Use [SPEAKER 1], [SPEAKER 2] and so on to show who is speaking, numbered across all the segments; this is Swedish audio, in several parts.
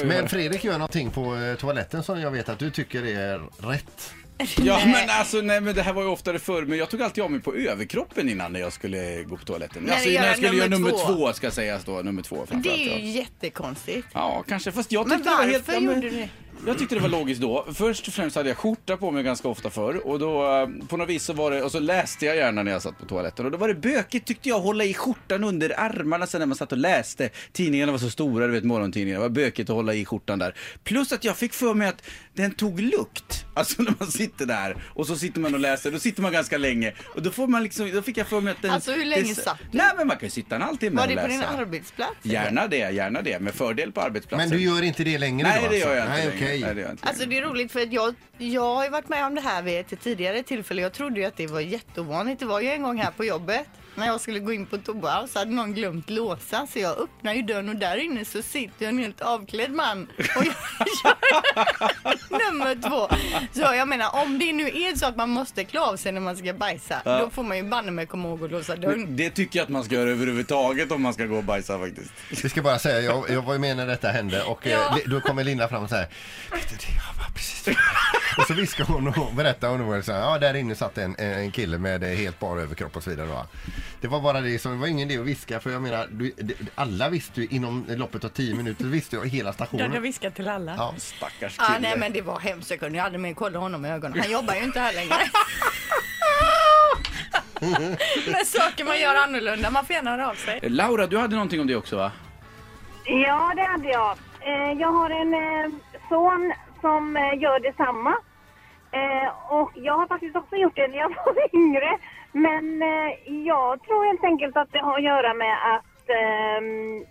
[SPEAKER 1] oj.
[SPEAKER 2] Men Fredrik gör någonting på eh, toaletten som jag vet att du tycker är rätt.
[SPEAKER 1] Ja,
[SPEAKER 3] Nej.
[SPEAKER 1] men alltså, nej, men det här var ju oftare förr, men jag tog alltid av mig på överkroppen innan när jag skulle gå på toaletten.
[SPEAKER 3] När
[SPEAKER 1] alltså,
[SPEAKER 3] du
[SPEAKER 1] när jag
[SPEAKER 3] gör
[SPEAKER 1] skulle göra nummer
[SPEAKER 3] nummer
[SPEAKER 1] två,
[SPEAKER 3] två.
[SPEAKER 1] ska sägas då, nummer två
[SPEAKER 3] Det
[SPEAKER 1] framförallt.
[SPEAKER 3] är ju
[SPEAKER 1] ja.
[SPEAKER 3] jättekonstigt.
[SPEAKER 1] Ja, kanske. Fast jag
[SPEAKER 3] Men
[SPEAKER 1] tyckte det var helt...
[SPEAKER 3] varför
[SPEAKER 1] ja, men-
[SPEAKER 3] gjorde du det?
[SPEAKER 1] Jag tyckte det var logiskt då. Först och främst hade jag skjorta på mig ganska ofta förr och då eh, på något vis så var det, och så läste jag gärna när jag satt på toaletten och då var det bökigt tyckte jag att hålla i skjortan under armarna sen när man satt och läste. Tidningarna var så stora, du vet morgontidningarna, det var bökigt att hålla i skjortan där. Plus att jag fick för mig att den tog lukt. Alltså när man sitter där och så sitter man och läser, då sitter man ganska länge och då får man liksom, då fick jag för mig att den...
[SPEAKER 3] Alltså, hur länge satt du?
[SPEAKER 1] Nej men man kan ju sitta en halvtimme
[SPEAKER 3] Var
[SPEAKER 1] och
[SPEAKER 3] det
[SPEAKER 1] läsa.
[SPEAKER 3] på din arbetsplats?
[SPEAKER 1] Gärna det, gärna det. Med fördel på
[SPEAKER 2] Men
[SPEAKER 1] arbetsplatsen.
[SPEAKER 2] du gör inte det längre
[SPEAKER 1] Nej,
[SPEAKER 2] då?
[SPEAKER 1] det gör jag inte
[SPEAKER 2] alltså?
[SPEAKER 1] längre.
[SPEAKER 2] Nej,
[SPEAKER 1] Nej, det
[SPEAKER 2] okej.
[SPEAKER 1] gör jag inte
[SPEAKER 3] Alltså
[SPEAKER 1] längre.
[SPEAKER 3] det är roligt för att jag, jag har ju varit med om det här vid ett tidigare tillfälle. Jag trodde ju att det var jätteovanligt. Det var ju en gång här på jobbet när jag skulle gå in på toa så hade någon glömt låsa så jag öppnar ju dörren och där inne så sitter en helt avklädd man. Och jag gör nummer två. Så jag menar om det nu är så att man måste klä av sig när man ska bajsa då får man ju banne mig komma ihåg att låsa dörren.
[SPEAKER 1] Det tycker jag att man ska göra överhuvudtaget om man ska gå och bajsa faktiskt.
[SPEAKER 2] Vi ska bara säga, jag, jag var ju med när detta hände och eh,
[SPEAKER 3] Ja.
[SPEAKER 2] li- då kommer Linda fram och säger Vet du det, jag var precis Och så viskar hon och berättar hon och var så här, ja där inne satt en, en kille med eh, helt bar överkropp och så vidare. Va? Det var bara det som, det var ingen idé att viska för jag menar, du, det- alla visste ju inom loppet av 10 minuter visste ju hela
[SPEAKER 4] Du hade
[SPEAKER 2] stationen.
[SPEAKER 4] viskat till alla.
[SPEAKER 2] Ja.
[SPEAKER 1] Stackars kille.
[SPEAKER 3] Ah, nej men det var hemskt. Jag kunde ju aldrig mer kolla honom i ögonen. Han jobbar ju inte här längre.
[SPEAKER 4] Men saker man gör annorlunda, man får gärna höra av sig.
[SPEAKER 1] Laura, du hade någonting om det också va?
[SPEAKER 5] Ja, det hade jag. Eh, Jag har en eh, son som eh, gör detsamma. Eh, Och jag har faktiskt också gjort det när jag var yngre. Men eh, jag tror helt enkelt att det har att göra med att ehm,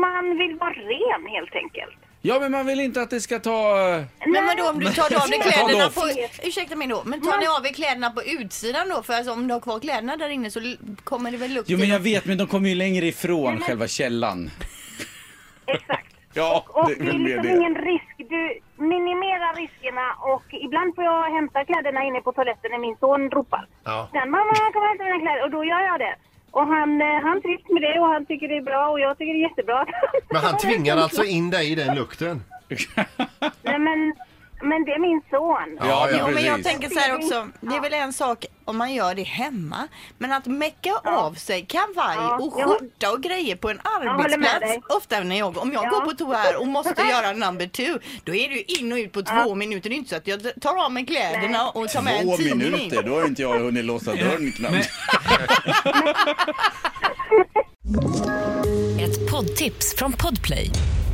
[SPEAKER 5] man vill vara ren helt enkelt.
[SPEAKER 1] Ja, men man vill inte att det ska ta... eh,
[SPEAKER 3] Men vadå om du tar av dig
[SPEAKER 1] Men-
[SPEAKER 3] kläderna
[SPEAKER 1] Adolf.
[SPEAKER 3] på... Ursäkta mig då, men tar ni av er kläderna på utsidan då? För alltså, om du har kvar kläderna där inne så l- kommer det väl lukt
[SPEAKER 1] Jo, men jag
[SPEAKER 3] in.
[SPEAKER 1] vet, men de kommer ju längre ifrån själva källan.
[SPEAKER 5] Exakt.
[SPEAKER 1] Ja,
[SPEAKER 5] Och
[SPEAKER 1] det är
[SPEAKER 5] det
[SPEAKER 1] väl
[SPEAKER 5] är
[SPEAKER 1] mer
[SPEAKER 5] liksom
[SPEAKER 1] det.
[SPEAKER 5] ingen risk. Du minimerar riskerna och ibland får jag hämta kläderna inne på toaletten när min son ropar.
[SPEAKER 2] Ja.
[SPEAKER 5] Sen mamma, jag kommer hämta mina kläder och då gör jag det. Och han, eh, han trivs med det och han tycker det är bra och jag tycker det är jättebra.
[SPEAKER 2] Men han tvingar alltså in dig i den lukten?
[SPEAKER 5] Nej men, men det är min son.
[SPEAKER 1] Ja,
[SPEAKER 2] ja,
[SPEAKER 3] Jo, men jag
[SPEAKER 1] precis.
[SPEAKER 3] tänker så här också, det är väl en sak om man gör det hemma, men att mecka av sig kavaj
[SPEAKER 5] Ja,
[SPEAKER 3] och
[SPEAKER 5] jag-
[SPEAKER 3] skjorta och grejer på en
[SPEAKER 5] håller med
[SPEAKER 3] arbetsplats.
[SPEAKER 5] dig.
[SPEAKER 3] Ofta när jag, om jag
[SPEAKER 5] Ja.
[SPEAKER 3] går på toa här och måste göra number two, då är det ju in och ut på två minuter. Det är inte så att jag tar av mig kläderna och tar med en
[SPEAKER 1] Två
[SPEAKER 3] tidning.
[SPEAKER 1] minuter, då har inte jag hunnit låsa dörren knappt.
[SPEAKER 6] Ett poddtips från Podplay.